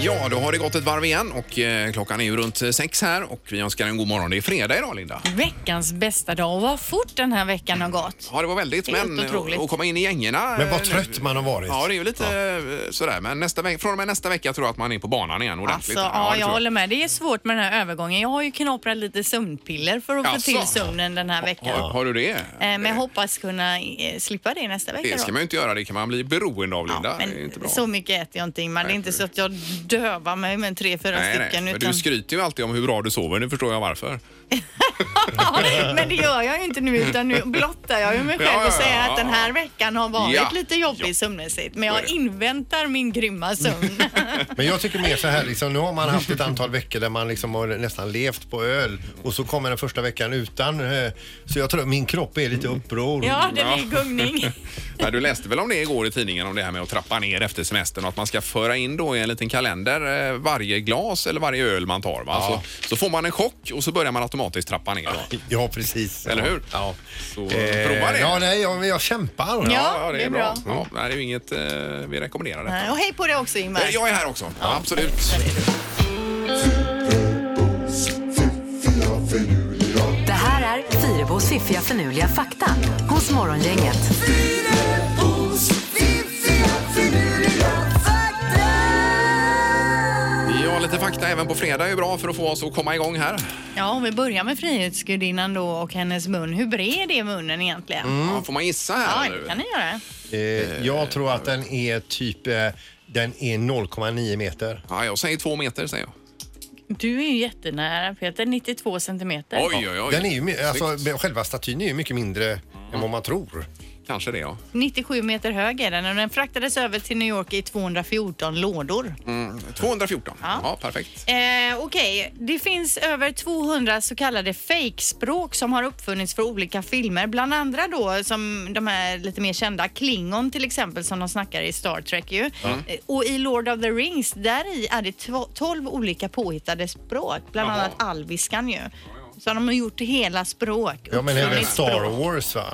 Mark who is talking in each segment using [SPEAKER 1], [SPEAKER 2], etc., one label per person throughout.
[SPEAKER 1] Ja, då har det gått ett varv igen och eh, klockan är ju runt sex här och vi önskar en god morgon. Det är fredag idag, Linda.
[SPEAKER 2] Veckans bästa dag och vad fort den här veckan har gått.
[SPEAKER 1] Ja, det var väldigt,
[SPEAKER 2] Helt
[SPEAKER 1] men eh,
[SPEAKER 2] otroligt.
[SPEAKER 1] att komma in i gängerna.
[SPEAKER 3] Men vad
[SPEAKER 1] eh,
[SPEAKER 3] trött man har varit.
[SPEAKER 1] Ja, det är ju lite eh, sådär. Men nästa vecka, från och med nästa vecka tror jag att man är på banan igen
[SPEAKER 2] Alltså,
[SPEAKER 1] ordentligt.
[SPEAKER 2] ja,
[SPEAKER 1] det
[SPEAKER 2] jag
[SPEAKER 1] tror
[SPEAKER 2] håller med. Det är svårt med den här övergången. Jag har ju knaprat lite sömnpiller för att få
[SPEAKER 1] Jaså?
[SPEAKER 2] till sömnen den här veckan.
[SPEAKER 1] Har, har du det?
[SPEAKER 2] Eh, Men jag hoppas kunna eh, slippa det nästa vecka.
[SPEAKER 1] Det ska
[SPEAKER 2] då.
[SPEAKER 1] man ju inte göra. Det kan man bli beroende av, Linda.
[SPEAKER 2] Ja,
[SPEAKER 1] det är inte bra.
[SPEAKER 2] men så mycket äter jag inte Ingmar. Det är
[SPEAKER 1] Nej,
[SPEAKER 2] inte
[SPEAKER 1] för-
[SPEAKER 2] så att jag dövar mig med tre, fyra
[SPEAKER 1] Nej, nej.
[SPEAKER 2] stycken.
[SPEAKER 1] Men
[SPEAKER 2] utan...
[SPEAKER 1] du skryter ju alltid om hur bra du sover. Nu förstår jag varför.
[SPEAKER 2] Ja, men det gör jag ju inte nu utan nu blottar jag ju mig
[SPEAKER 1] Ja,
[SPEAKER 2] själv
[SPEAKER 1] ja,
[SPEAKER 2] och säger
[SPEAKER 1] ja,
[SPEAKER 2] att den här veckan har varit
[SPEAKER 1] Ja.
[SPEAKER 2] lite jobbig sömnmässigt. Men
[SPEAKER 1] Så är
[SPEAKER 2] jag
[SPEAKER 1] det.
[SPEAKER 2] inväntar min grymma sömn.
[SPEAKER 3] Men jag tycker mer så här, liksom, nu har man haft ett antal veckor där man liksom har nästan levt på öl och så kommer den första veckan utan. eh, Så jag tror att min kropp är lite uppror.
[SPEAKER 2] ja, den är i gungning.
[SPEAKER 1] Ja, du läste väl om det igår i tidningen om det här med att trappa ner efter semestern och att man ska föra in då i en liten kalender eh, varje glas eller varje öl man tar. Va?
[SPEAKER 3] Ja.
[SPEAKER 1] Så, så får man en chock och så börjar man automatiskt trappa ner. Då.
[SPEAKER 3] Ja, precis.
[SPEAKER 1] Eller hur?
[SPEAKER 3] Ja. Eh,
[SPEAKER 1] Så prova det.
[SPEAKER 3] Ja, nej, jag, men jag kämpar.
[SPEAKER 2] Ja. det är bra.
[SPEAKER 1] Ja, nej, det är ju inget eh, vi rekommenderar. Det.
[SPEAKER 2] Nej, Och hej på dig också Ingmar.
[SPEAKER 1] Eh, Jag är här också, absolut.
[SPEAKER 4] Det här är Fyrabos fiffiga förnuliga fakta hos Morgongänget.
[SPEAKER 1] Ja, lite fakta även på fredag är ju bra för att få oss att komma igång här.
[SPEAKER 3] Mm.
[SPEAKER 2] Ja, om vi börjar med Frihetsgudinnan då och hennes mun. Hur bred är munnen egentligen?
[SPEAKER 1] Mm. Ja, får man gissa
[SPEAKER 2] Ja,
[SPEAKER 1] här?
[SPEAKER 2] det
[SPEAKER 1] nu?
[SPEAKER 2] kan ni göra.
[SPEAKER 3] Eh, jag tror att den är typ eh, den är 0,9 meter.
[SPEAKER 1] ja, jag säger två meter säger jag.
[SPEAKER 2] Du är ju jättenära Peter, 92 centimeter.
[SPEAKER 1] Oj, oj, oj.
[SPEAKER 3] Den är ju, mi- alltså,
[SPEAKER 1] Snyggt.
[SPEAKER 3] själva statyn är ju mycket mindre än vad man tror.
[SPEAKER 1] Kanske det, ja.
[SPEAKER 2] 97 meter hög är den och den fraktades över till New York i 214 lådor.
[SPEAKER 1] Mm, 214. Ja,
[SPEAKER 2] Ja.
[SPEAKER 1] perfekt.
[SPEAKER 2] Eh, Okej, det finns över 200 så kallade fejkspråk som har uppfunnits för olika filmer. Bland andra då som de här lite mer kända, Klingon till exempel som de snackar i Star Trek ju. Eh, Och i Lord of the Rings, där i är det tvo- 12 olika påhittade språk. Bland
[SPEAKER 1] Jaha.
[SPEAKER 2] annat alviskan ju. Så de har gjort hela språk.
[SPEAKER 3] Ja, men även
[SPEAKER 2] uppfunnit
[SPEAKER 3] Star
[SPEAKER 2] språk.
[SPEAKER 3] Wars va?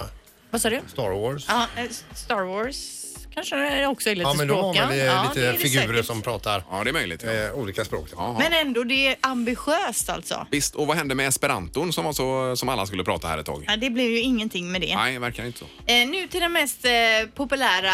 [SPEAKER 2] Vad sa du?
[SPEAKER 3] Star Wars.
[SPEAKER 2] Ja, eh, Star Wars kanske det också är lite
[SPEAKER 3] Ja, men då har
[SPEAKER 2] språk.
[SPEAKER 3] man väl, eh,
[SPEAKER 2] Ja, det
[SPEAKER 3] lite
[SPEAKER 2] är det
[SPEAKER 3] figurer
[SPEAKER 2] säkert.
[SPEAKER 3] som pratar
[SPEAKER 1] Ja, det är möjligt. Ja.
[SPEAKER 3] eh, olika språk.
[SPEAKER 1] Jaha.
[SPEAKER 2] Men ändå, det är ambitiöst alltså.
[SPEAKER 1] Visst, och vad hände med esperanton som, var så, som alla skulle prata här ett tag?
[SPEAKER 2] Ja, det blev ju ingenting med det.
[SPEAKER 1] Nej, verkar inte så.
[SPEAKER 2] Eh, nu till den mest eh, populära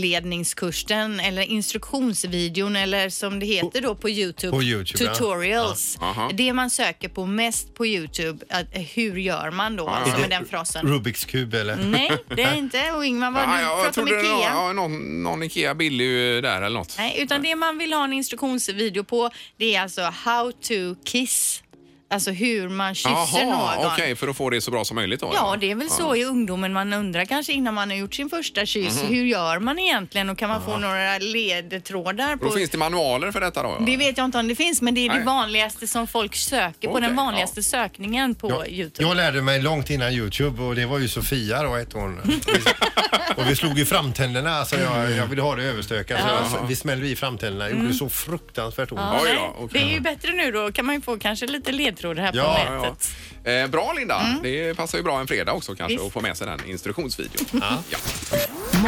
[SPEAKER 2] handledningskursen eller instruktionsvideon eller som det heter då på Youtube,
[SPEAKER 3] På YouTube, ja.
[SPEAKER 2] tutorials.
[SPEAKER 1] Ja. Aha.
[SPEAKER 2] Det man söker på mest på Youtube, att, eh, hur gör man då?
[SPEAKER 1] ja.
[SPEAKER 2] Alltså
[SPEAKER 1] Är
[SPEAKER 2] med den frasen.
[SPEAKER 3] Rubiks kub eller?
[SPEAKER 2] Nej, det är inte. Och Ingmar, vad
[SPEAKER 1] Ja,
[SPEAKER 2] du pratar om
[SPEAKER 1] det var
[SPEAKER 2] Ikea.
[SPEAKER 1] ja, någon, någon Ikea Billy där eller något.
[SPEAKER 2] Nej, utan det man vill ha en instruktionsvideo på det är alltså how to kiss. Alltså hur man kysser
[SPEAKER 1] Jaha,
[SPEAKER 2] någon.
[SPEAKER 1] okej, för att få det så bra som möjligt då?
[SPEAKER 2] Ja,
[SPEAKER 1] eller?
[SPEAKER 2] det är väl så i ungdomen man undrar kanske innan man har gjort sin första kyss.
[SPEAKER 1] Mhm.
[SPEAKER 2] Hur gör man egentligen och kan man få några ledtrådar?
[SPEAKER 1] Då
[SPEAKER 2] På...
[SPEAKER 1] finns det manualer för detta då? ja?
[SPEAKER 2] Det vet jag inte om det finns, men det är
[SPEAKER 1] Nej.
[SPEAKER 2] det vanligaste som folk söker på,
[SPEAKER 1] Okej,
[SPEAKER 2] den vanligaste sökningen på
[SPEAKER 3] Jag,
[SPEAKER 2] Youtube.
[SPEAKER 3] jag lärde mig långt innan Youtube och det var ju Sofia då hette hon. Vi- Och vi slog ju framtänderna, alltså
[SPEAKER 1] Mm.
[SPEAKER 3] jag, jag ville ha det överstökat. Så jag, vi smällde i framtänderna, det gjorde så fruktansvärt ont.
[SPEAKER 1] Oj
[SPEAKER 2] Nej,
[SPEAKER 1] då, okej.
[SPEAKER 2] Det är ju bättre nu då, kan man ju få kanske lite ledtrådar här
[SPEAKER 3] Ja,
[SPEAKER 2] på
[SPEAKER 1] Ja,
[SPEAKER 2] nätet.
[SPEAKER 1] ja. Eh, bra Linda, det passar ju bra en fredag också kanske
[SPEAKER 2] Visst.
[SPEAKER 1] att få med sig den instruktionsvideon. Ja.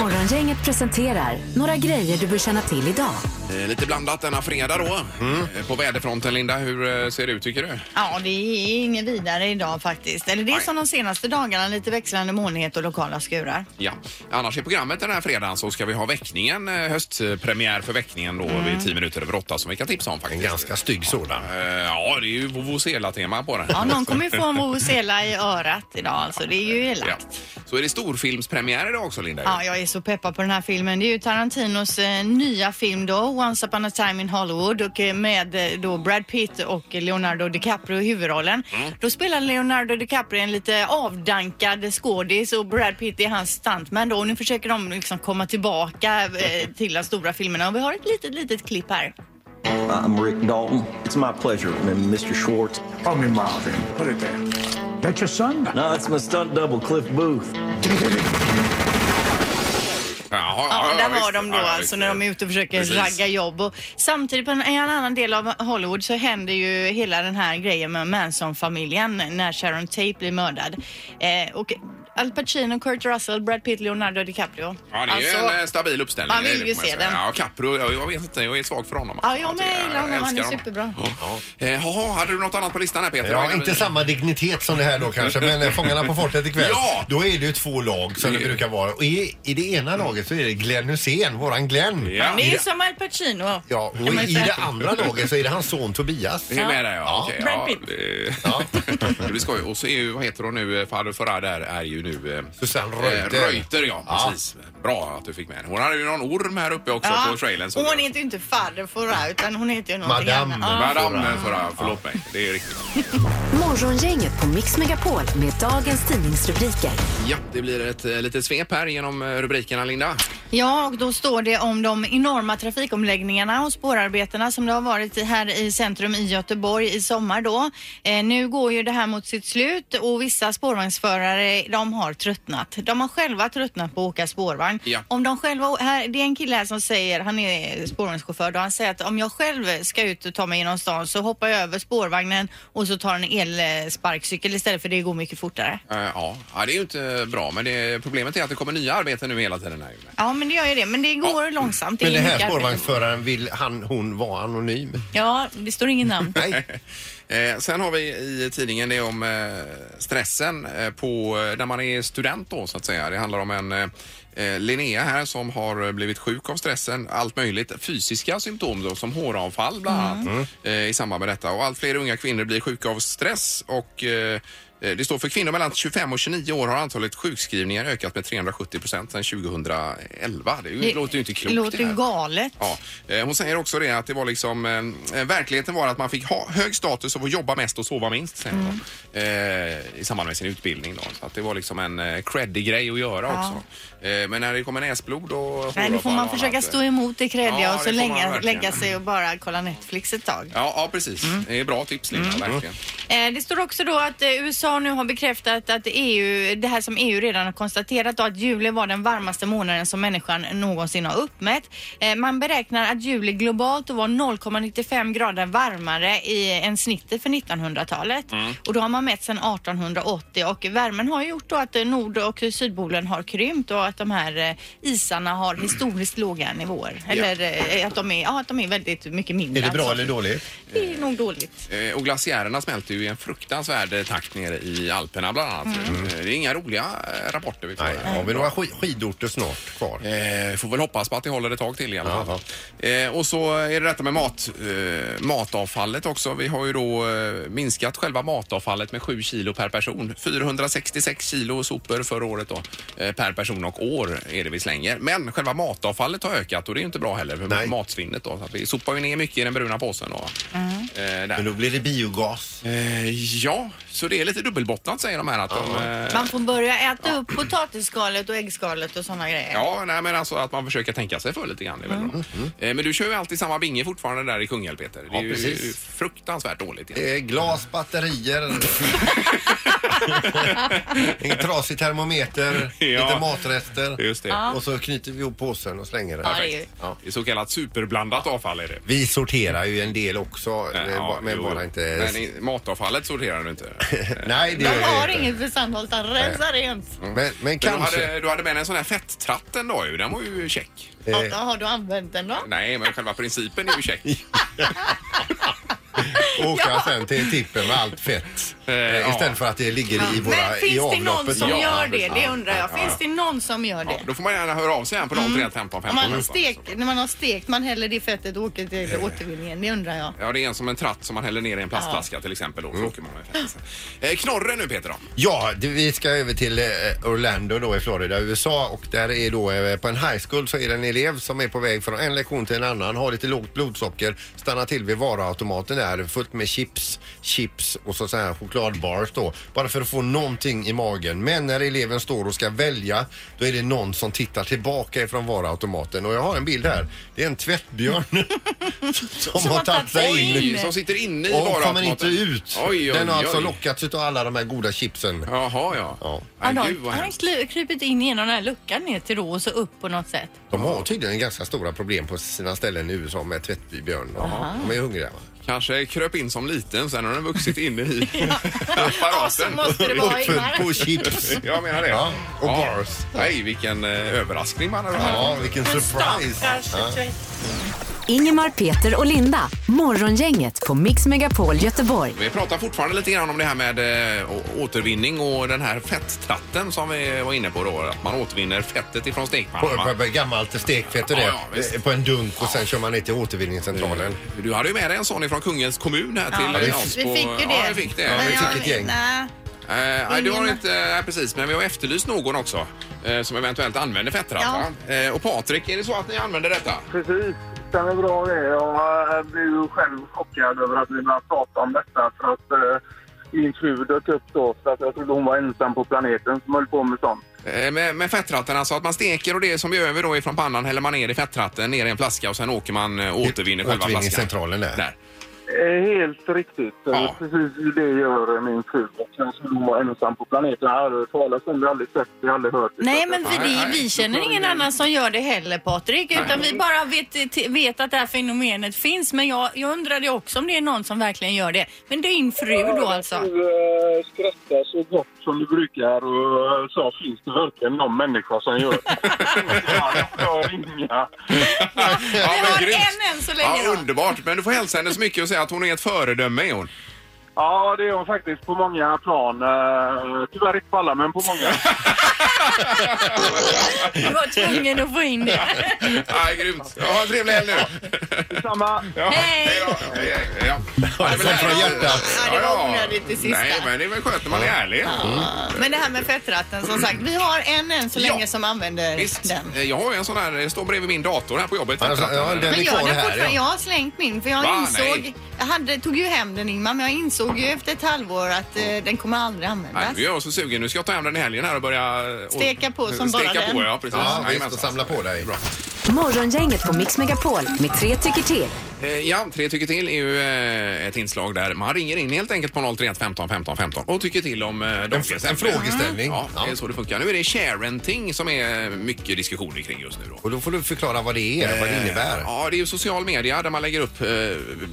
[SPEAKER 4] Morgongänget presenterar några grejer du bör känna till idag.
[SPEAKER 1] Eh, Lite blandat denna fredag då. Eh, På väderfronten Linda, hur eh, ser det ut tycker du?
[SPEAKER 2] Ja, det är inget vidare idag faktiskt. Eller det är
[SPEAKER 1] Nej.
[SPEAKER 2] som de senaste dagarna, lite växlande molnighet och lokala skurar.
[SPEAKER 1] Ja. Annars i programmet den här fredagen så ska vi ha väckningen, eh, höstpremiär för väckningen då vid 10 minuter över 8 som vi kan tipsa om
[SPEAKER 3] En
[SPEAKER 1] faktiskt.
[SPEAKER 3] ganska stygg sådan.
[SPEAKER 1] Eh, Ja, det är ju vuvuzela-tema på den.
[SPEAKER 2] Ja, någon kommer ju få en vuvuzela i örat idag alltså. Det är ju
[SPEAKER 1] Ja.
[SPEAKER 2] elakt.
[SPEAKER 1] Så är det storfilmspremiär idag också Linda.
[SPEAKER 2] Ja, jag är så peppad på den här filmen. Det är ju Tarantinos eh, nya film då, Once upon a time in Hollywood och eh, med eh, då Brad Pitt och Leonardo DiCaprio i huvudrollen. Då spelar Leonardo DiCaprio en lite avdankad skådis och Brad Pitt är hans stuntman då. Och nu försöker de liksom komma tillbaka eh, till de stora filmerna och vi har ett litet, litet klipp här.
[SPEAKER 5] I'm Rick Dalton. It's my pleasure, Mr. Schwartz.
[SPEAKER 6] Call me Marvin. Put it there. That's your son.
[SPEAKER 5] No, that's my stunt double, Cliff Booth.
[SPEAKER 1] Jaha,
[SPEAKER 2] Ja,
[SPEAKER 1] ja, ja,
[SPEAKER 2] där
[SPEAKER 1] visst.
[SPEAKER 2] var de då
[SPEAKER 1] Ja, ja,
[SPEAKER 2] alltså
[SPEAKER 1] visst.
[SPEAKER 2] när de är ute och försöker
[SPEAKER 1] Precis.
[SPEAKER 2] ragga jobb. Och samtidigt på en, i en annan del av Hollywood så händer ju hela den här grejen med Manson-familjen när Sharon Tate blir mördad. Eh, och Al Pacino, Kurt Russell, Brad Pitt, Leonardo DiCaprio.
[SPEAKER 1] Ja, det är ju
[SPEAKER 2] Alltså,
[SPEAKER 1] en eh, stabil uppställning.
[SPEAKER 2] man vill
[SPEAKER 1] det får
[SPEAKER 2] ju
[SPEAKER 1] säga.
[SPEAKER 2] se den.
[SPEAKER 1] Ja, Capro, jag, jag vet inte, jag är svag för honom.
[SPEAKER 2] Ja, jag med,
[SPEAKER 1] tycker-
[SPEAKER 2] gillar honom. Han
[SPEAKER 1] älskar
[SPEAKER 2] är superbra.
[SPEAKER 1] Ja. Eh, Jaha, hade du något annat på listan här Peter?
[SPEAKER 3] Ja, inte samma dignitet som det här då kanske, men eh, Fångarna på fortet ikväll.
[SPEAKER 1] Ja! Mm.
[SPEAKER 3] Då är det ju två lag som det brukar vara. Och i, I det ena laget så är det Glenn Hussein, våran Glenn.
[SPEAKER 1] Ja.
[SPEAKER 2] Han är ju som Al Pacino.
[SPEAKER 3] Ja, och
[SPEAKER 2] Kan man
[SPEAKER 3] i
[SPEAKER 2] säga.
[SPEAKER 3] det andra laget så är det hans son Tobias.
[SPEAKER 1] Det är med där ja.
[SPEAKER 3] Ja.
[SPEAKER 1] Okej,
[SPEAKER 2] Brad Pitt.
[SPEAKER 1] det- det blir skoj. Och så är ju, vad heter hon nu, Farao Farah där är ju nu... eh,
[SPEAKER 3] Susanne
[SPEAKER 1] eh,
[SPEAKER 3] Reuter.
[SPEAKER 1] Reuter ja, precis. Bra att du fick med henne. Hon hade ju någon orm här uppe också Alltså, på trailern.
[SPEAKER 2] och hon heter ju inte Fader Fora utan hon heter ju någonting
[SPEAKER 3] Madame.
[SPEAKER 2] annat. Ja.
[SPEAKER 1] Madame Farah, förlåt mig. Det är riktigt.
[SPEAKER 4] Morgongänget på Mix Megapol med dagens tidningsrubriker.
[SPEAKER 1] Ja, det blir ett eh, litet svep här genom eh, rubrikerna Linda.
[SPEAKER 2] Ja, och då står det om de enorma trafikomläggningarna och spårarbetena som det har varit i- här i centrum i Göteborg i sommar då. Eh, nu går ju det här mot sitt slut och vissa spårvagnsförare de har tröttnat. De har själva tröttnat på att åka spårvagn.
[SPEAKER 1] Ja.
[SPEAKER 2] Om de själva, här, det är en kille här som säger, han är spårvagnschaufför, då han säger att om jag själv ska ut och ta mig genom stan så hoppar jag över spårvagnen och så tar en elsparkcykel istället för det går mycket fortare.
[SPEAKER 1] Eh, Ja, Ja, det är ju inte bra, men det, problemet är att det kommer nya arbeten nu hela tiden. Här.
[SPEAKER 2] Ja, men det gör ju det, men det går långsamt.
[SPEAKER 3] Men
[SPEAKER 2] är
[SPEAKER 3] den här
[SPEAKER 2] mycket arbete.
[SPEAKER 3] spårvagnsföraren vill han, hon vara anonym.
[SPEAKER 2] Ja, det står ingen namn.
[SPEAKER 3] Nej.
[SPEAKER 1] Eh, sen har vi i tidningen det om eh, stressen eh, på, eh, när man är student då så att säga. Det handlar om en eh, eh, Linnea här som har eh, blivit sjuk av stressen. Allt möjligt fysiska symptom då, som håravfall bland annat eh, i samband med detta. Och allt fler unga kvinnor blir sjuka av stress och eh, eh, det står för kvinnor mellan 25 och 29 år har antalet sjukskrivningar ökat med 370 procent sedan 2011. Det, är ju, låter ju inte klokt.
[SPEAKER 2] låter
[SPEAKER 1] det här.
[SPEAKER 2] galet.
[SPEAKER 1] Ja, eh, hon säger också det att det var liksom eh, verkligheten var att man fick ha hög status av att jobba mest och sova minst säger hon. eh, i samband med sin utbildning. Då. Så att det var liksom en eh, creddig grej att göra också. Eh, men när det kommer näsblod och
[SPEAKER 2] Nej, då får man
[SPEAKER 1] håravfall och
[SPEAKER 2] försöka
[SPEAKER 1] annat,
[SPEAKER 2] stå
[SPEAKER 1] eh,
[SPEAKER 2] emot det kreddiga
[SPEAKER 1] Ja,
[SPEAKER 2] och så
[SPEAKER 1] det får man
[SPEAKER 2] länge,
[SPEAKER 1] verkligen.
[SPEAKER 2] lägga sig och bara kolla Netflix ett tag.
[SPEAKER 1] Ja, ja precis.
[SPEAKER 2] Mm.
[SPEAKER 1] Det är bra tips Linda, verkligen.
[SPEAKER 2] Eh, det står också då att eh, USA nu har bekräftat att EU, det här som EU redan har konstaterat då, att juli var den varmaste månaden som människan någonsin har uppmätt. Eh, man beräknar att juli globalt var 0,95 grader varmare i, än snittet för 1900-talet.
[SPEAKER 3] Mm.
[SPEAKER 2] Och då har man mätt sedan 1880 och värmen har ju gjort då att eh, nord och sydpolen har krympt och att de här eh, isarna har historiskt låga nivåer. Eller eh, att, de är, ja, att de är väldigt mycket mindre.
[SPEAKER 3] Är det bra
[SPEAKER 2] alltså.
[SPEAKER 3] eller dåligt?
[SPEAKER 2] Det är nog dåligt.
[SPEAKER 1] Eh, Och glaciärerna smälter ju i en fruktansvärd takt nere i Alperna bland annat.
[SPEAKER 2] Mm.
[SPEAKER 1] Eh, Det är inga roliga eh, rapporter vi får.
[SPEAKER 3] Nej,
[SPEAKER 1] här.
[SPEAKER 3] har vi några sk- skidorter snart kvar?
[SPEAKER 1] Eh, får väl hoppas på att det håller ett tag till i alla fall. Eh, och så är det detta med mat, eh, matavfallet också. Vi har ju då eh, minskat själva matavfallet med 7 kilo per person. 466 kilo sopor förra året då, eh, per person och år är det vi slänger. Men själva matavfallet har ökat och det är ju inte bra heller för
[SPEAKER 3] Nej.
[SPEAKER 1] matsvinnet då. Så att vi sopar ju ner mycket i den bruna påsen då. Eh,
[SPEAKER 3] Men
[SPEAKER 1] där.
[SPEAKER 3] då blir det biogas.
[SPEAKER 1] Eh, ja, så det är lite dubbelbottnat säger de här att de... Eh,
[SPEAKER 2] Man får börja äta upp potatisskalet och äggskalet och sådana grejer.
[SPEAKER 1] Ja, nej, men alltså att man försöker tänka sig för lite grann. Det är väl
[SPEAKER 3] Mm.
[SPEAKER 1] bra. Eh, Men du kör ju alltid samma binge fortfarande där i Kungälv, Peter. Det är
[SPEAKER 3] Ja,
[SPEAKER 1] ju
[SPEAKER 3] precis.
[SPEAKER 1] fruktansvärt dåligt. egentligen.
[SPEAKER 3] Eh, glas, batterier. en trasig termometer,
[SPEAKER 1] Ja.
[SPEAKER 3] lite matrester.
[SPEAKER 1] Just det.
[SPEAKER 3] Och så knyter vi ihop påsen och slänger den.
[SPEAKER 2] Ja, det är ju-
[SPEAKER 3] Ja.
[SPEAKER 1] Det är så kallat superblandat avfall är det.
[SPEAKER 3] Vi sorterar ju en del också, eh, ba- men
[SPEAKER 1] jo.
[SPEAKER 3] bara inte...
[SPEAKER 1] Men i- matavfallet sorterar du inte.
[SPEAKER 3] Nej, det
[SPEAKER 2] De
[SPEAKER 3] gör jag
[SPEAKER 2] har
[SPEAKER 3] inte.
[SPEAKER 2] inget för Sandholt, han rensar rent.
[SPEAKER 3] Men, men
[SPEAKER 1] Men du,
[SPEAKER 3] kanske...
[SPEAKER 1] hade, du hade med en sån här fetttratt en dag ju. Den var ju check.
[SPEAKER 2] Ja, då Har du använt den då?
[SPEAKER 1] Nej, men själva principen är ju check.
[SPEAKER 3] åka sen till tippen med allt fett.
[SPEAKER 1] Eh,
[SPEAKER 3] Eh,
[SPEAKER 1] ja.
[SPEAKER 3] istället för att det ligger i
[SPEAKER 2] Men
[SPEAKER 3] våra... i
[SPEAKER 2] finns det någon
[SPEAKER 3] avloppet.
[SPEAKER 2] som
[SPEAKER 1] Ja,
[SPEAKER 2] gör det? Det
[SPEAKER 1] ja,
[SPEAKER 2] undrar jag.
[SPEAKER 1] ja,
[SPEAKER 2] Finns
[SPEAKER 1] ja.
[SPEAKER 2] det någon som gör
[SPEAKER 1] Ja,
[SPEAKER 2] det?
[SPEAKER 1] då får man gärna höra av sig igen på
[SPEAKER 3] Mm.
[SPEAKER 1] 0315
[SPEAKER 2] Om
[SPEAKER 1] 15
[SPEAKER 2] man har
[SPEAKER 1] 15.
[SPEAKER 2] stekt, när man har stekt, man häller det fettet och åker till återvinningen. Det undrar jag.
[SPEAKER 1] Eh. Ja, det är en som en tratt som man häller ner i en plastflaska till exempel. Då,
[SPEAKER 3] Mm.
[SPEAKER 1] så åker man med fett. eh, knorren nu Peter då.
[SPEAKER 3] Ja, det- vi ska över till eh, Orlando då i Florida, USA och där är då eh, på en high school så är det en elev som är på väg från en lektion till en annan, har lite lågt blodsocker, stannar till vid varuautomaten där fullt med chips, chips och så, så här chokladbars då, bara för att få någonting i magen. Men när eleven står och ska välja, då är det någon som tittar tillbaka ifrån varuautomaten och jag har en bild här. Det är en tvättbjörn som, har tagit sig in.
[SPEAKER 2] in.
[SPEAKER 1] Som sitter inne i
[SPEAKER 3] Och kommer
[SPEAKER 1] varuautomaten.
[SPEAKER 3] inte ut.
[SPEAKER 1] Oj, oj,
[SPEAKER 3] Den har alltså
[SPEAKER 1] oj.
[SPEAKER 3] lockats av alla de här goda chipsen.
[SPEAKER 1] Jaha, ja.
[SPEAKER 3] Ja.
[SPEAKER 1] Nej,
[SPEAKER 2] Han har,
[SPEAKER 1] gud, vad
[SPEAKER 2] han har
[SPEAKER 1] hemskt.
[SPEAKER 2] kli- krypit in genom den här luckan ner till då och så upp på något sätt.
[SPEAKER 3] De har tydligen ganska stora problem på sina ställen i USA med tvättbjörn. De är hungriga. va?
[SPEAKER 1] Kanske kröp in som liten, sen har den vuxit in i
[SPEAKER 2] Ja, så
[SPEAKER 1] apparaten.
[SPEAKER 2] måste det vara Ingmar.
[SPEAKER 3] På chips.
[SPEAKER 1] Jag menar det.
[SPEAKER 3] Ja, och bars.
[SPEAKER 1] Nej, vilken eh, överraskning man har
[SPEAKER 3] Ja, vilken surprise.
[SPEAKER 4] Ingemar, Peter och Linda. Morgongänget på Mix Megapol Göteborg.
[SPEAKER 1] Vi pratar fortfarande lite grann om det här med eh, å- återvinning och den här fetttratten som vi var inne på då. Att man återvinner fettet ifrån
[SPEAKER 3] På,
[SPEAKER 1] stekpannan.
[SPEAKER 3] på,
[SPEAKER 1] va?
[SPEAKER 3] på gammalt stekfett och det.
[SPEAKER 1] Ja, ja, visst.
[SPEAKER 3] Eh, på en dunk och sen kör man ner till återvinningscentralen.
[SPEAKER 1] Du hade ju med dig en sån ifrån Kungens kommun här till
[SPEAKER 2] Ja,
[SPEAKER 1] eh,
[SPEAKER 2] vi,
[SPEAKER 1] oss
[SPEAKER 2] vi
[SPEAKER 1] på-
[SPEAKER 2] fick ju det.
[SPEAKER 1] Ja, vi fick det.
[SPEAKER 3] Ja, vi
[SPEAKER 2] Men
[SPEAKER 3] fick ett
[SPEAKER 2] jag-
[SPEAKER 3] gäng.
[SPEAKER 2] Nej.
[SPEAKER 1] Eh, nej, du har
[SPEAKER 2] Ingen-
[SPEAKER 1] inte, nej, precis, men vi har efterlyst någon också eh, som eventuellt använder fetttratt.
[SPEAKER 2] Ja.
[SPEAKER 1] va? Eh, och Patrik, är det så att ni använder detta?
[SPEAKER 7] Precis. Den är bra det. Jag blev ju själv chockad över att vi började prata om detta för att eh, min fru dök upp då för att jag trodde hon var ensam på planeten som höll på med sånt.
[SPEAKER 1] Eh, med, med fettratten, alltså att man steker och det som är över då ifrån pannan häller man ner i fettratten, ner i en flaska och sen åker man eh, och återvinner själva flaskan.
[SPEAKER 3] Återvinningscentralen där.
[SPEAKER 1] Där.
[SPEAKER 7] Eh, helt riktigt.
[SPEAKER 1] Ja.
[SPEAKER 7] Ja. Precis det gör min fru. Och jag trodde hon var ensam på planeten. Jag har aldrig hört talas om det, aldrig sett det, aldrig hört det.
[SPEAKER 2] Nej, men vi,
[SPEAKER 1] Nej,
[SPEAKER 2] det,
[SPEAKER 1] nej.
[SPEAKER 2] vi känner ingen annan som gör det heller Patrik. Utan vi bara vet, t- vet att det här fenomenet finns. Men jag, jag undrade också om det är någon som verkligen gör det. Men det är din fru då alltså?
[SPEAKER 7] Du eh, skrattar så gott som du brukar och eh, sa finns det verkligen någon människa som gör det? ja, jag hör inga.
[SPEAKER 1] Ja,
[SPEAKER 2] Vi har
[SPEAKER 1] grymt.
[SPEAKER 2] en än så länge
[SPEAKER 1] ja,
[SPEAKER 2] då.
[SPEAKER 1] Underbart, men du får hälsa henne så mycket och säga att hon är ett föredöme är hon.
[SPEAKER 7] Ja, det är hon faktiskt på många plan. Eh, Tyvärr inte på alla, men på många.
[SPEAKER 2] Du var tvungen att få in det.
[SPEAKER 1] Ja, grymt. Ja, ha en trevlig helg nu.
[SPEAKER 7] Samma.
[SPEAKER 1] Ja,
[SPEAKER 2] Hej.
[SPEAKER 1] då. Hej, hej, hej, ja. Ja, det är väl
[SPEAKER 3] Kom från
[SPEAKER 1] härligt.
[SPEAKER 3] hjärtat.
[SPEAKER 2] Ja, det var onödigt det sista.
[SPEAKER 1] Nej, men det är väl skönt när man är ärlig.
[SPEAKER 2] Men det här med fettratten som sagt. Vi har en än så länge som använder
[SPEAKER 1] Visst.
[SPEAKER 2] den.
[SPEAKER 1] Eh, Jag har ju en sån här, eh, står bredvid min dator här på jobbet.
[SPEAKER 3] Alltså, ja, den är
[SPEAKER 2] Men jag,
[SPEAKER 3] kvar här.
[SPEAKER 2] den fortfarande,
[SPEAKER 3] Ja.
[SPEAKER 2] jag har slängt min för jag
[SPEAKER 1] Va? Nej.
[SPEAKER 2] insåg, jag hade, tog ju hem den Ingmar, men jag insåg ju efter ett halvår att eh, den kommer aldrig användas.
[SPEAKER 1] Nej, nu är jag så sugen. Nu ska jag ta hem den i helgen här och börja... eh, och-
[SPEAKER 2] Steka på som bara
[SPEAKER 1] Steka
[SPEAKER 2] den.
[SPEAKER 1] på, ja precis.
[SPEAKER 3] Ja, visst,
[SPEAKER 1] Jajamensan.
[SPEAKER 3] och samla på dig.
[SPEAKER 1] Bra.
[SPEAKER 4] Morgongänget på Mix Megapol med tre tycker till.
[SPEAKER 1] Eh, Ja, tre tycker till är ju eh, ett inslag där man ringer in helt enkelt på 031 15 15 15 och tycker till om eh, dagens
[SPEAKER 3] en
[SPEAKER 1] ämne.
[SPEAKER 3] frågeställning.
[SPEAKER 1] Ja, det är
[SPEAKER 3] Ja.
[SPEAKER 1] så det funkar. Nu är det sharenting som är mycket diskussioner kring just nu då.
[SPEAKER 3] Och då får du förklara vad det är, vad det innebär.
[SPEAKER 1] Eh, Ja, det är ju social media där man lägger upp eh,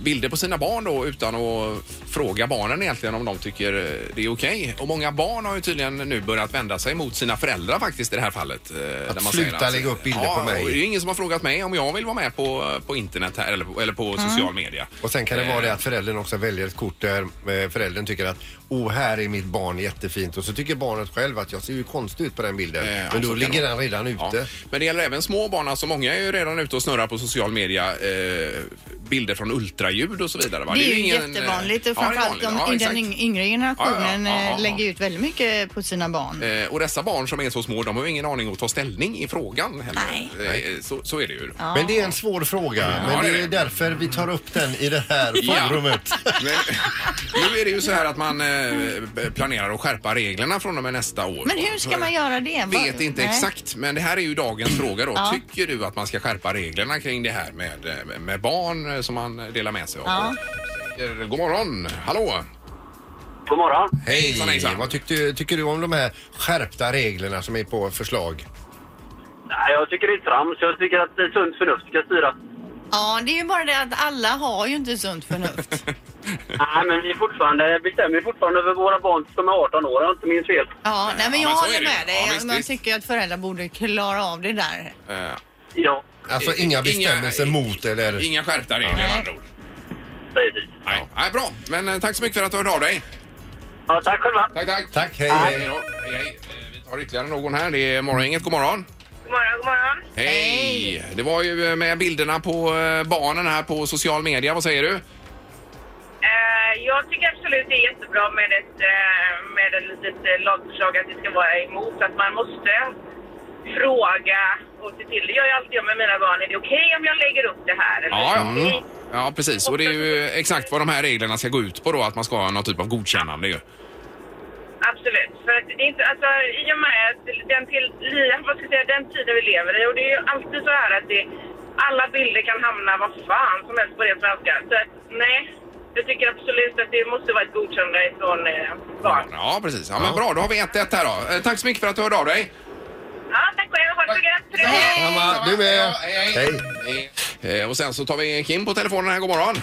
[SPEAKER 1] bilder på sina barn då utan att fråga barnen egentligen om de tycker eh, det är okej. Och många barn har ju tydligen nu börjat vända sig mot sina föräldrar faktiskt i det här fallet. eh, där
[SPEAKER 3] sluta lägga upp bilder
[SPEAKER 1] ja,
[SPEAKER 3] på mig.
[SPEAKER 1] och Det är ju ingen som har frågat mig om jag vill vara med på, på internet här eller, på- eller på
[SPEAKER 2] Mm.
[SPEAKER 1] social media.
[SPEAKER 3] Och sen kan det
[SPEAKER 1] Eh.
[SPEAKER 3] vara det att föräldern också väljer ett kort där eh, föräldern tycker att oh, här är mitt barn jättefint och så tycker barnet själv att jag ser ju konstig ut på den bilden.
[SPEAKER 1] Eh, ja,
[SPEAKER 3] Men
[SPEAKER 1] så
[SPEAKER 3] då
[SPEAKER 1] kan
[SPEAKER 3] ligger
[SPEAKER 1] det
[SPEAKER 3] den redan
[SPEAKER 1] Eh, Ja.
[SPEAKER 3] ute.
[SPEAKER 1] Men det gäller även små barn. Alltså många är ju redan ute och snurrar på social media. Eh, bilder från ultraljud och så vidare. Va?
[SPEAKER 2] Det är ju
[SPEAKER 1] ingen, eh,
[SPEAKER 2] jättevanligt
[SPEAKER 1] Ja,
[SPEAKER 2] och
[SPEAKER 1] det är vanligt.
[SPEAKER 2] framförallt de,
[SPEAKER 1] Ja,
[SPEAKER 2] i
[SPEAKER 1] exakt.
[SPEAKER 2] den yng- yngre generationen
[SPEAKER 1] Ja, ja, ja, ja,
[SPEAKER 2] eh,
[SPEAKER 1] ja.
[SPEAKER 2] lägger ut väldigt mycket på sina barn.
[SPEAKER 1] Eh, och dessa barn som är så små, de har ju ingen aning att ta ställning i frågan heller. Eh, så, så är det ju.
[SPEAKER 3] Men det är en svår fråga. Men
[SPEAKER 1] Ja, det
[SPEAKER 3] det
[SPEAKER 1] är
[SPEAKER 3] är
[SPEAKER 1] det.
[SPEAKER 3] därför vi tar upp den i det
[SPEAKER 1] Ja.
[SPEAKER 3] här forumet.
[SPEAKER 1] Men, nu är det ju så här att man eh, planerar att skärpa reglerna från och med nästa år.
[SPEAKER 2] Men hur ska
[SPEAKER 1] Så-
[SPEAKER 2] man göra det? Vad-
[SPEAKER 1] vet inte
[SPEAKER 2] Nej.
[SPEAKER 1] exakt, men det här är ju dagens fråga då.
[SPEAKER 2] Ja.
[SPEAKER 1] Tycker du att man ska skärpa reglerna kring det här med, eh, med barn eh, som man delar med sig av?
[SPEAKER 2] Ja.
[SPEAKER 1] Eh, God morgon! Hallå!
[SPEAKER 7] God morgon.
[SPEAKER 1] Hejsan, hejsan.
[SPEAKER 3] Vad tyckte, tycker du om de här skärpta reglerna som är på förslag?
[SPEAKER 7] Nej, jag tycker det är trams. Jag tycker att det är sunt förnuft ska styra.
[SPEAKER 2] Ja, det är ju bara det att alla har ju inte sunt förnuft.
[SPEAKER 7] Nej, men vi fortfarande, bestämmer ju fortfarande över våra barn som är 18 år, om jag inte minns fel.
[SPEAKER 2] Ja, nej, men
[SPEAKER 1] Ja,
[SPEAKER 2] jag
[SPEAKER 1] men så är
[SPEAKER 2] håller
[SPEAKER 1] det ju.
[SPEAKER 2] med dig.
[SPEAKER 1] Ja, visst,
[SPEAKER 2] jag, jag
[SPEAKER 1] visst.
[SPEAKER 2] tycker att föräldrar borde klara av det där.
[SPEAKER 1] Eh,
[SPEAKER 7] Ja,
[SPEAKER 3] Alltså
[SPEAKER 1] Eh,
[SPEAKER 3] inga
[SPEAKER 1] inga-
[SPEAKER 3] bestämmelser mot eller...
[SPEAKER 1] inga skärpta regler med andra ord.
[SPEAKER 7] precis.
[SPEAKER 1] Nej. Nej, bra, men eh, tack så mycket för att du hörde av dig.
[SPEAKER 7] Ja, tack själva.
[SPEAKER 1] Tack, tack.
[SPEAKER 3] Tack, hej,
[SPEAKER 1] Hej
[SPEAKER 3] hej.
[SPEAKER 1] då. Hej, hej. Eh, Vi tar ytterligare någon här. Det är Morgongänget. God morgon.
[SPEAKER 7] God morgon, god morgon.
[SPEAKER 1] Hej! Det var ju eh, med bilderna på eh, barnen här på social media. Vad säger du?
[SPEAKER 7] Eh, jag tycker absolut det är jättebra med ett, eh, med ett litet eh, lagförslag att det ska vara emot. Att man måste fråga och se till. Det gör jag alltid jag med mina barn. Är det okej om jag lägger upp det här? Eller Mm.
[SPEAKER 1] Ja,
[SPEAKER 7] är det okej?
[SPEAKER 1] ja. ja, precis. Och det är ju eh, exakt vad de här reglerna ska gå ut på då, att man ska ha någon typ av godkännande ju.
[SPEAKER 7] Absolut. För att det är inte, alltså, I och med att den, till, li- vad ska jag säga, den tiden vi lever i och det är ju alltid så här att det, alla bilder kan hamna vad fan som helst på det svenska. Så att, nej, jag tycker absolut att det måste vara ett godkännande från eh, barn.
[SPEAKER 1] Ja, precis. Ja, men bra, då har vi 1-1 här då. Eh, Tack så mycket för att du hörde av dig.
[SPEAKER 7] Ja, tack själv. Ha det så gött. Hej!
[SPEAKER 3] Mamma, du med.
[SPEAKER 1] Hej. Eh, Och sen så tar vi Kim på telefonen här. God morgon.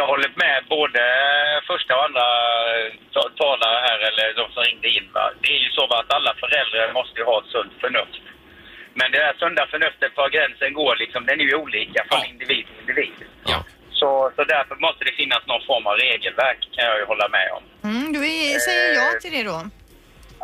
[SPEAKER 8] Jag håller med både första och andra eh, ta- talare här, eller de som ringde in. Va? Det är ju så va, att alla föräldrar måste ju ha ett sunt förnuft. Men det här sunda förnuftet, var gränsen går, liksom, den är ju olika från
[SPEAKER 1] Ja.
[SPEAKER 8] individ till individ.
[SPEAKER 1] Ja.
[SPEAKER 8] Så, så därför måste det finnas någon form av regelverk, kan jag ju hålla med om.
[SPEAKER 2] Mm, du är, säger ja till det då?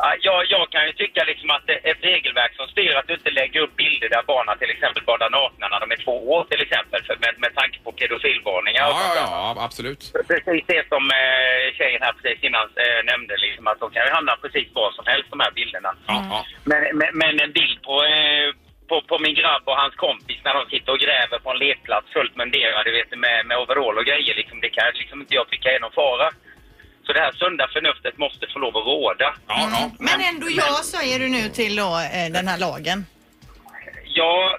[SPEAKER 8] Ja, Jag, jag kan ju tycka liksom att ett regelverk som styr att du inte lägger upp bilder där barnen till exempel badar nakna när de är två år till exempel, för, med, med tanke på pedofilvarningar. och
[SPEAKER 1] Ja,
[SPEAKER 8] sånt
[SPEAKER 1] ja,
[SPEAKER 8] där.
[SPEAKER 1] ja, absolut.
[SPEAKER 8] Precis det som eh, tjejen här precis innan eh, nämnde, liksom, att de kan ju hamna precis var som helst de här bilderna.
[SPEAKER 1] Ja, ja.
[SPEAKER 8] Men, men, men en bild på, eh, på, på min grabb och hans kompis när de sitter och gräver på en lekplats fullt munderade vet, du, med, med overall och grejer. Liksom, det kan jag liksom inte jag tycka är någon fara. Så det här sunda förnuftet måste få lov att råda.
[SPEAKER 1] Ja, ja.
[SPEAKER 2] Mm. Men ändå ja säger du nu till då, eh, den här lagen.
[SPEAKER 8] Ja,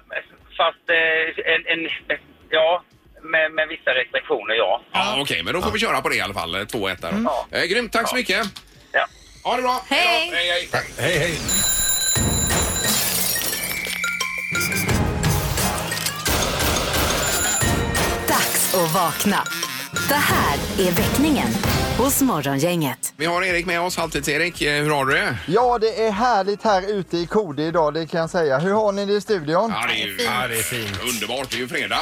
[SPEAKER 8] fast eh, en, en, ja, med, med vissa restriktioner, ja.
[SPEAKER 1] Ja, Okej, men då får vi köra på det i alla fall. 2-1 där. Eh, grymt, tack så mycket.
[SPEAKER 8] ja.
[SPEAKER 1] Ha det bra.
[SPEAKER 2] Hej.
[SPEAKER 1] då. hej, hej.
[SPEAKER 3] Hej, hej.
[SPEAKER 4] Dags att vakna. Det här är väckningen hos Morgongänget.
[SPEAKER 1] Vi har Erik med oss, Halvtids-Erik. Eh, Hur har du det?
[SPEAKER 9] Ja, det är härligt här ute i KD idag, det kan jag säga. Hur har ni det i studion?
[SPEAKER 1] Ja, det är ju
[SPEAKER 3] Ja, det är fint.
[SPEAKER 1] underbart. Det är ju fredag.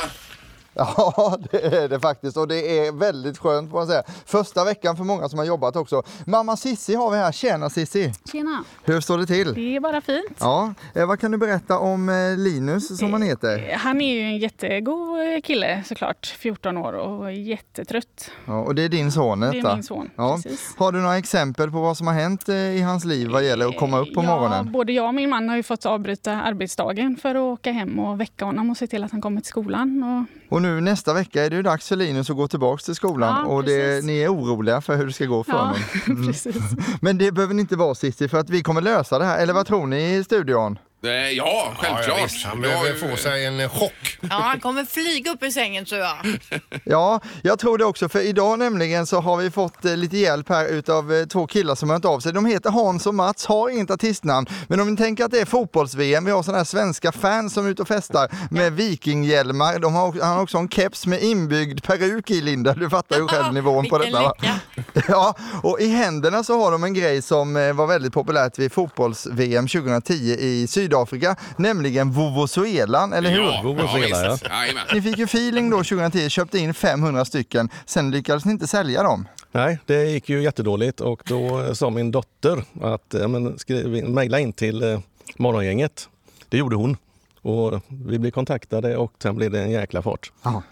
[SPEAKER 9] Ja, det är det faktiskt och det är väldigt skönt får man säga. Första veckan för många som har jobbat också. Mamma Sissi har vi här. Tjena Sissi!
[SPEAKER 10] Tjena!
[SPEAKER 9] Hur står det till?
[SPEAKER 10] Det är bara fint.
[SPEAKER 9] Ja, eh, vad kan du berätta om eh, Linus som han heter?
[SPEAKER 10] Han är ju en jättegod eh, kille såklart, 14 år och jättetrött.
[SPEAKER 9] Ja, och det är din son
[SPEAKER 10] Det
[SPEAKER 9] detta?
[SPEAKER 10] är min son,
[SPEAKER 9] Ja.
[SPEAKER 10] precis.
[SPEAKER 9] Har du några exempel på vad som har hänt eh, i hans liv vad gäller att komma upp på
[SPEAKER 10] Ja,
[SPEAKER 9] morgonen?
[SPEAKER 10] både jag och min man har ju fått avbryta arbetsdagen för att åka hem och väcka honom och se till att han kommer till skolan. Och
[SPEAKER 9] Och nu nästa vecka är det ju dags för Linus att gå tillbaks till skolan
[SPEAKER 10] Ja,
[SPEAKER 9] och det,
[SPEAKER 10] precis.
[SPEAKER 9] ni är oroliga för hur det ska gå för
[SPEAKER 10] ja,
[SPEAKER 9] honom. Mm.
[SPEAKER 10] precis.
[SPEAKER 9] Men det behöver ni inte vara Cissi för att vi kommer lösa det här. Eller vad tror ni i studion?
[SPEAKER 1] Eh, Ja,
[SPEAKER 3] Ja,
[SPEAKER 1] självklart.
[SPEAKER 3] ja, visst. Han
[SPEAKER 1] Du har
[SPEAKER 3] behöver
[SPEAKER 1] ju-
[SPEAKER 3] få sig en eh, chock.
[SPEAKER 2] Ja, han kommer flyga upp ur sängen tror jag.
[SPEAKER 9] Ja, jag tror det också. För idag nämligen så har vi fått eh, lite hjälp här utav eh, två killar som har hört av sig. De heter Hans och Mats, har inget artistnamn. Men om ni tänker att det är fotbolls-VM, vi har sådana här svenska fans som är ute och festar med vikinghjälmar. De har, också- han har också en keps med inbyggd peruk i, Linda. Du fattar ju själv nivån på
[SPEAKER 2] Vilken
[SPEAKER 9] detta. va?
[SPEAKER 2] lycka.
[SPEAKER 9] Ja, och i händerna så har de en grej som eh, var väldigt populärt vid fotbolls-VM 2010 i Sydafrika, nämligen vovozuelan, eller hur?
[SPEAKER 1] Ja, ja, visst. Jajamän.
[SPEAKER 9] Ni fick ju feeling då 2010, köpte in 500 stycken, sen lyckades ni inte sälja dem.
[SPEAKER 11] Nej, det gick ju jättedåligt och då eh, sa min dotter att eh, men, skriv in, mejla in till eh, Morgongänget. Det gjorde hon. Och vi blev kontaktade och sen blev det en jäkla fart.
[SPEAKER 9] Ja.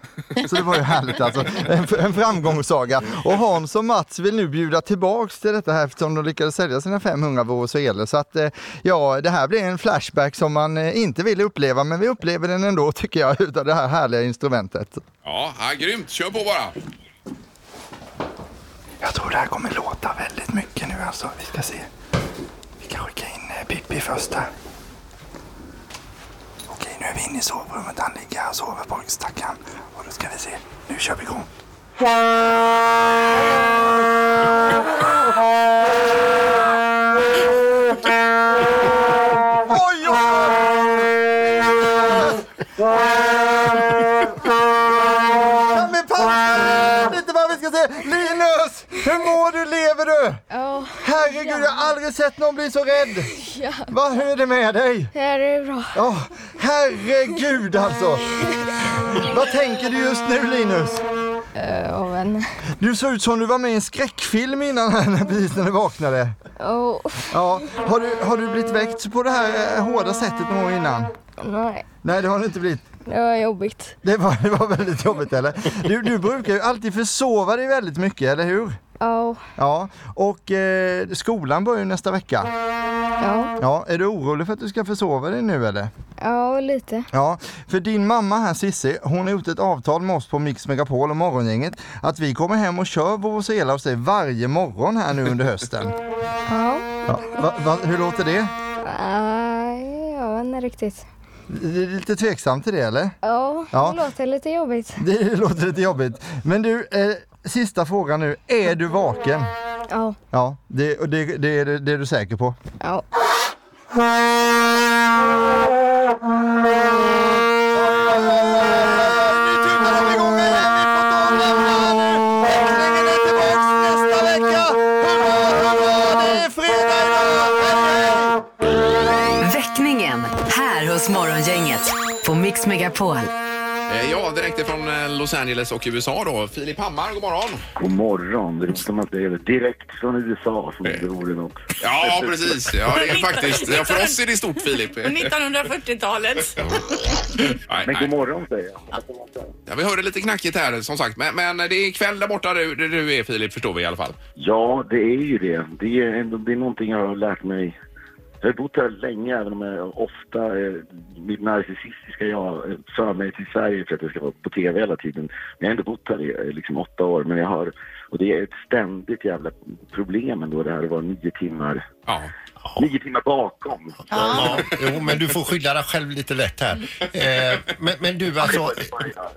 [SPEAKER 9] Så det var ju härligt alltså, en, en framgångssaga. Och Hans och Mats vill nu bjuda tillbaks till detta här eftersom de lyckades sälja sina 500 vovozuelor. Så att eh, ja, det här blir en flashback som man eh, inte vill uppleva, men vi upplever den ändå tycker jag utav det här härliga instrumentet.
[SPEAKER 1] Ja, ja, grymt. Kör på bara.
[SPEAKER 9] Jag tror det här kommer låta väldigt mycket nu alltså. Vi ska se. Vi kan skicka in eh, Pippi först här. Okej, nu är vi inne i sovrummet. Han ligger här och sover på stackaren. Och då ska vi se. Nu kör vi igång. Oj, oj! Kan vi pausa lite vad vi ska se? Linus! Hur mår du? Lever du?
[SPEAKER 10] Ja,
[SPEAKER 9] Herregud, jag har aldrig sett någon bli så rädd. Vad hur är det med dig?
[SPEAKER 10] det är bra.
[SPEAKER 9] Ja, herregud alltså. Vad tänker du just nu Linus?
[SPEAKER 10] Och en...
[SPEAKER 9] Du såg ut som du var med i en skräckfilm innan här när precis när du vaknade.
[SPEAKER 10] Oh,
[SPEAKER 9] Ja, har du, har du blivit väckt på det här eh, hårda sättet någon gång innan?
[SPEAKER 10] nej,
[SPEAKER 9] Nej, det har du inte blivit.
[SPEAKER 10] det var jobbigt.
[SPEAKER 9] Det var, det var väldigt jobbigt eller? Du, du brukar ju alltid försova dig väldigt mycket, eller hur?
[SPEAKER 10] Ja,
[SPEAKER 9] Ja, och eh, skolan börjar ju nästa vecka.
[SPEAKER 10] ja,
[SPEAKER 9] Ja, är du orolig för att du ska försova dig nu eller?
[SPEAKER 10] ja, lite.
[SPEAKER 9] Ja, för din mamma här Sissi, hon har gjort ett avtal med oss på Mix Megapol och Morgongänget att vi kommer hem och kör Vuvuzela hos dig varje morgon här nu under hösten.
[SPEAKER 10] Ja,
[SPEAKER 9] Ja, va, va, hur låter det?
[SPEAKER 10] jag vet inte riktigt.
[SPEAKER 9] Du är lite tveksam till det eller?
[SPEAKER 10] Ja,
[SPEAKER 9] Ja.
[SPEAKER 10] låter lite jobbigt.
[SPEAKER 9] Det låter lite jobbigt. Men du, eh, sista frågan nu. Är du vaken?
[SPEAKER 10] Ja,
[SPEAKER 9] Ja, det, och det, det, är, det är du säker på?
[SPEAKER 10] ja.
[SPEAKER 9] Nu tutar de igång igen! Vi får ta och lämna nu!
[SPEAKER 4] Morgongänget på Mix Megapol.
[SPEAKER 1] Eh, Ja, direkt ifrån eh, Los Angeles och USA då. Filip Hammar, god morgon!
[SPEAKER 12] God morgon. Det låter som att det är direkt från USA som det vore något.
[SPEAKER 1] Ja, precis. Ja, det är faktiskt. Ja, för oss är det stort, Filip.
[SPEAKER 2] 1940-talet.
[SPEAKER 1] Nej,
[SPEAKER 12] Men
[SPEAKER 1] nej.
[SPEAKER 12] god morgon säger jag.
[SPEAKER 1] Ja, vi hörde lite knackigt här som sagt, men, men det är kväll där borta du, där du är Filip förstår vi i alla fall.
[SPEAKER 12] Ja, det är ju det. Det är, ändå- det är någonting jag har lärt mig. Jag har bott här länge, även om jag ofta, eh, mitt narcissistiska jag eh, för mig till Sverige för att det ska vara på tv hela tiden. Men jag har ändå bott här i eh, liksom åtta år. Men jag har, och det är ett ständigt jävla problem ändå det här att vara nio timmar, nio timmar bakom.
[SPEAKER 3] Ja. Jo, men du får skydda dig själv lite lätt här. Eh, men, men du alltså,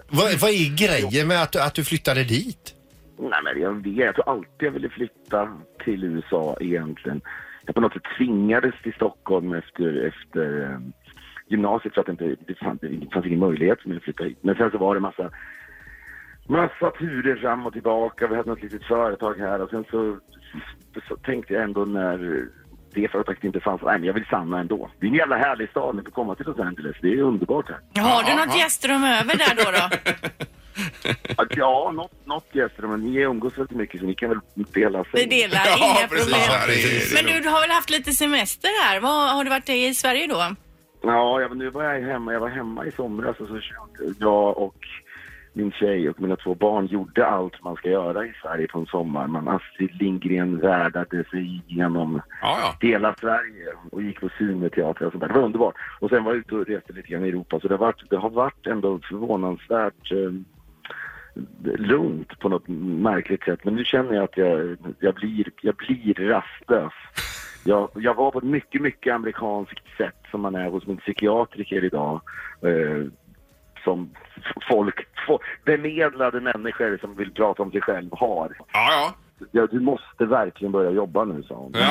[SPEAKER 3] vad, vad är grejen med att, du- att du flyttade dit?
[SPEAKER 12] Nej, men jag vet. Jag tror alltid jag ville flytta till USA egentligen. Jag på något sätt tvingades till Stockholm efter, efter eh, gymnasiet för att det inte, det, fanns, det fanns ingen möjlighet för mig att flytta hit. Men sen så var det massa, massa turer fram och tillbaka. Vi hade något litet företag här och sen så, så tänkte jag ändå när det företaget inte fanns, nej men jag vill stanna ändå. Det är en jävla härlig stad, men att komma till Los Angeles, det är underbart här.
[SPEAKER 2] Har du något gästrum över där då? då?
[SPEAKER 12] Att, Ja, något, något gäster, men ni umgås väldigt mycket så ni kan väl dela sig.
[SPEAKER 2] Vi delar, inga problem. Men du, du har väl haft lite semester här? Vad, har du varit i Sverige då?
[SPEAKER 12] Ja, jag, nu var jag hemma. Jag var hemma i somras och så körde jag och min tjej och mina två barn gjorde allt man ska göra i Sverige på en sommar. Man Astrid Lindgren värdade sig igenom hela Sverige och gick på Syneteater och sånt där. Det var underbart. Och sen var jag ute och reste lite grann i Europa så det har varit, det har varit ändå förvånansvärt eh, lugnt på något märkligt sätt. Men nu känner jag att jag, jag, blir, jag blir rastlös. Jag, jag var på ett mycket, mycket amerikanskt sätt som man är hos min psykiatriker idag. Eh, som f- folk, fo- bemedlade människor som vill prata om sig själv har.
[SPEAKER 1] Ja,
[SPEAKER 12] ja. Du måste verkligen börja jobba nu, sa hon.
[SPEAKER 1] Ja,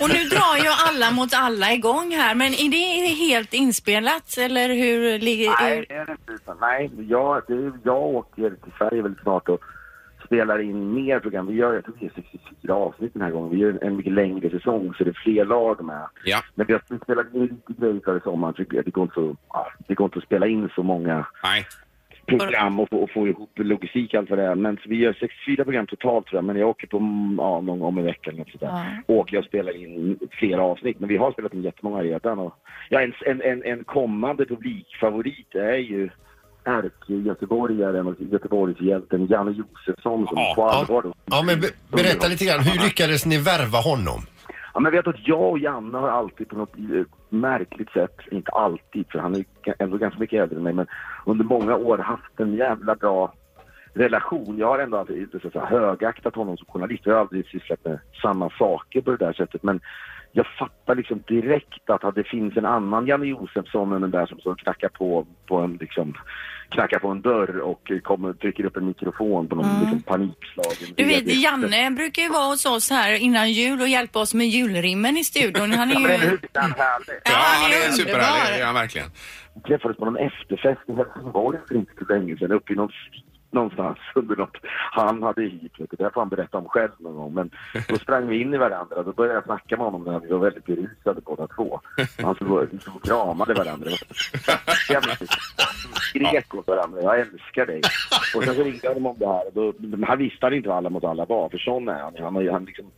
[SPEAKER 2] Och nu drar ju alla mot alla igång här, men är det helt inspelat eller hur ligger...
[SPEAKER 12] Nej, det är det inte. utan- Nej, jag, det, är- jag åker till Sverige väldigt snart och spelar in mer program. Vi gör, jag tror det är 64 avsnitt den här gången. Vi gör en mycket längre säsong så det är fler lag med.
[SPEAKER 1] Ja.
[SPEAKER 12] Men vi har spelat in lite grejer förra sommaren. så Det går, inte så, ja, det går inte att spela in så många
[SPEAKER 1] Nej.
[SPEAKER 12] program och få, och få ihop logistik och allt vad det är. Men så vi gör 64 program totalt tror jag. Men jag åker på mm, ja, någon gång om en vecka eller något sådär. Åker jag och spelar in flera avsnitt. Men vi har spelat in jättemånga redan. Och, ja, en, en, en, en kommande publikfavorit är ju ärkegöteborgaren och Göteborgshjälten Janne Josefsson som på allvar då
[SPEAKER 3] Ja, men be, berätta lite grann. Hur lyckades ni värva honom?
[SPEAKER 12] Ja, men vet du att jag och Janne har alltid på något eh, märkligt sätt, inte alltid för han är ju ga- ändå ganska mycket äldre än mig, men under många år haft en jävla bra relation. Jag har ändå alltid inte så här, högaktat honom som journalist. Jag har aldrig sysslat med samma saker på det där sättet. Men jag fattar liksom direkt att att det finns en annan Janne Josefsson än den där som står och knackar på, på en liksom knackar på en dörr och eh, kommer, trycker upp en mikrofon på någon liksom, panikslagen.
[SPEAKER 2] Du vet,
[SPEAKER 12] VD.
[SPEAKER 2] Janne brukar ju vara hos oss här innan jul och hjälpa oss med julrimmen i studion. Han är
[SPEAKER 12] Ja, men eller
[SPEAKER 2] ju...
[SPEAKER 12] hur? Det är härligt.
[SPEAKER 1] Ja, han är
[SPEAKER 2] underbar.
[SPEAKER 1] superhärlig. Ja, verkligen.
[SPEAKER 12] Vi träffades på någon efterfest i Helsingborg för inte så länge sedan uppe i någon stig någonstans under något han hade hit. vet du. Det där får han berätta om själv någon gång. Men då sprang vi in i varandra. Då började jag snacka med honom när vi var väldigt berusade båda två. Han stod och stod och kramade varandra. Jag skrek åt varandra. Jag älskar dig. Och sen så ringde jag honom om det här. och Då, men han visste han inte vad alla mot alla var, för sån är han. Han, har ju- han liksom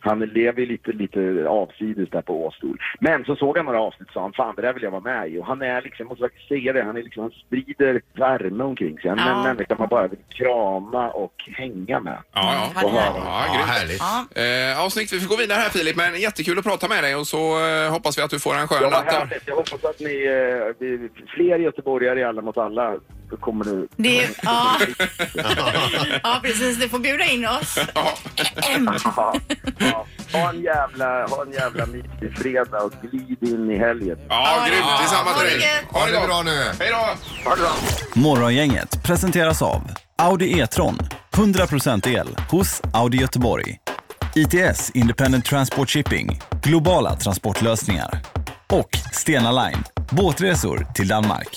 [SPEAKER 12] han lever ju lite, lite avsides där på Åstol. Men så såg han några avsnitt och sa han, fan det där vill jag vara med i. Och han är liksom, jag måste faktiskt säga det, han, är liksom, han sprider värme omkring sig. Han är en
[SPEAKER 1] Ja.
[SPEAKER 12] människa man bara vill krama och hänga med.
[SPEAKER 1] Ja, ja.
[SPEAKER 12] Och höra.
[SPEAKER 1] härligt. Ja. Eh, ja, snyggt. Vi får gå vidare här Filip, men jättekul att prata med dig och så eh, hoppas vi att du får en
[SPEAKER 12] Ja,
[SPEAKER 1] skön
[SPEAKER 12] vad
[SPEAKER 1] natt.
[SPEAKER 12] härligt. Jag hoppas att ni, eh, vi- fler göteborgare i Alla mot alla så kommer nu.
[SPEAKER 2] Det är, ja. ja, precis. Du får bjuda in oss.
[SPEAKER 12] Ja. Ja. Ha en jävla, ha en jävla mysig fredag och glid in i helgen.
[SPEAKER 1] Ja, grymt. Detsamma
[SPEAKER 12] ha
[SPEAKER 1] till
[SPEAKER 12] det
[SPEAKER 1] dig.
[SPEAKER 12] gött. Ha det
[SPEAKER 1] bra nu. Hej då.
[SPEAKER 13] Morgongänget presenteras av Audi E-tron. 100% el hos Audi Göteborg. ITS Independent Transport Shipping. Globala transportlösningar. Och Stena Line. Båtresor till Danmark.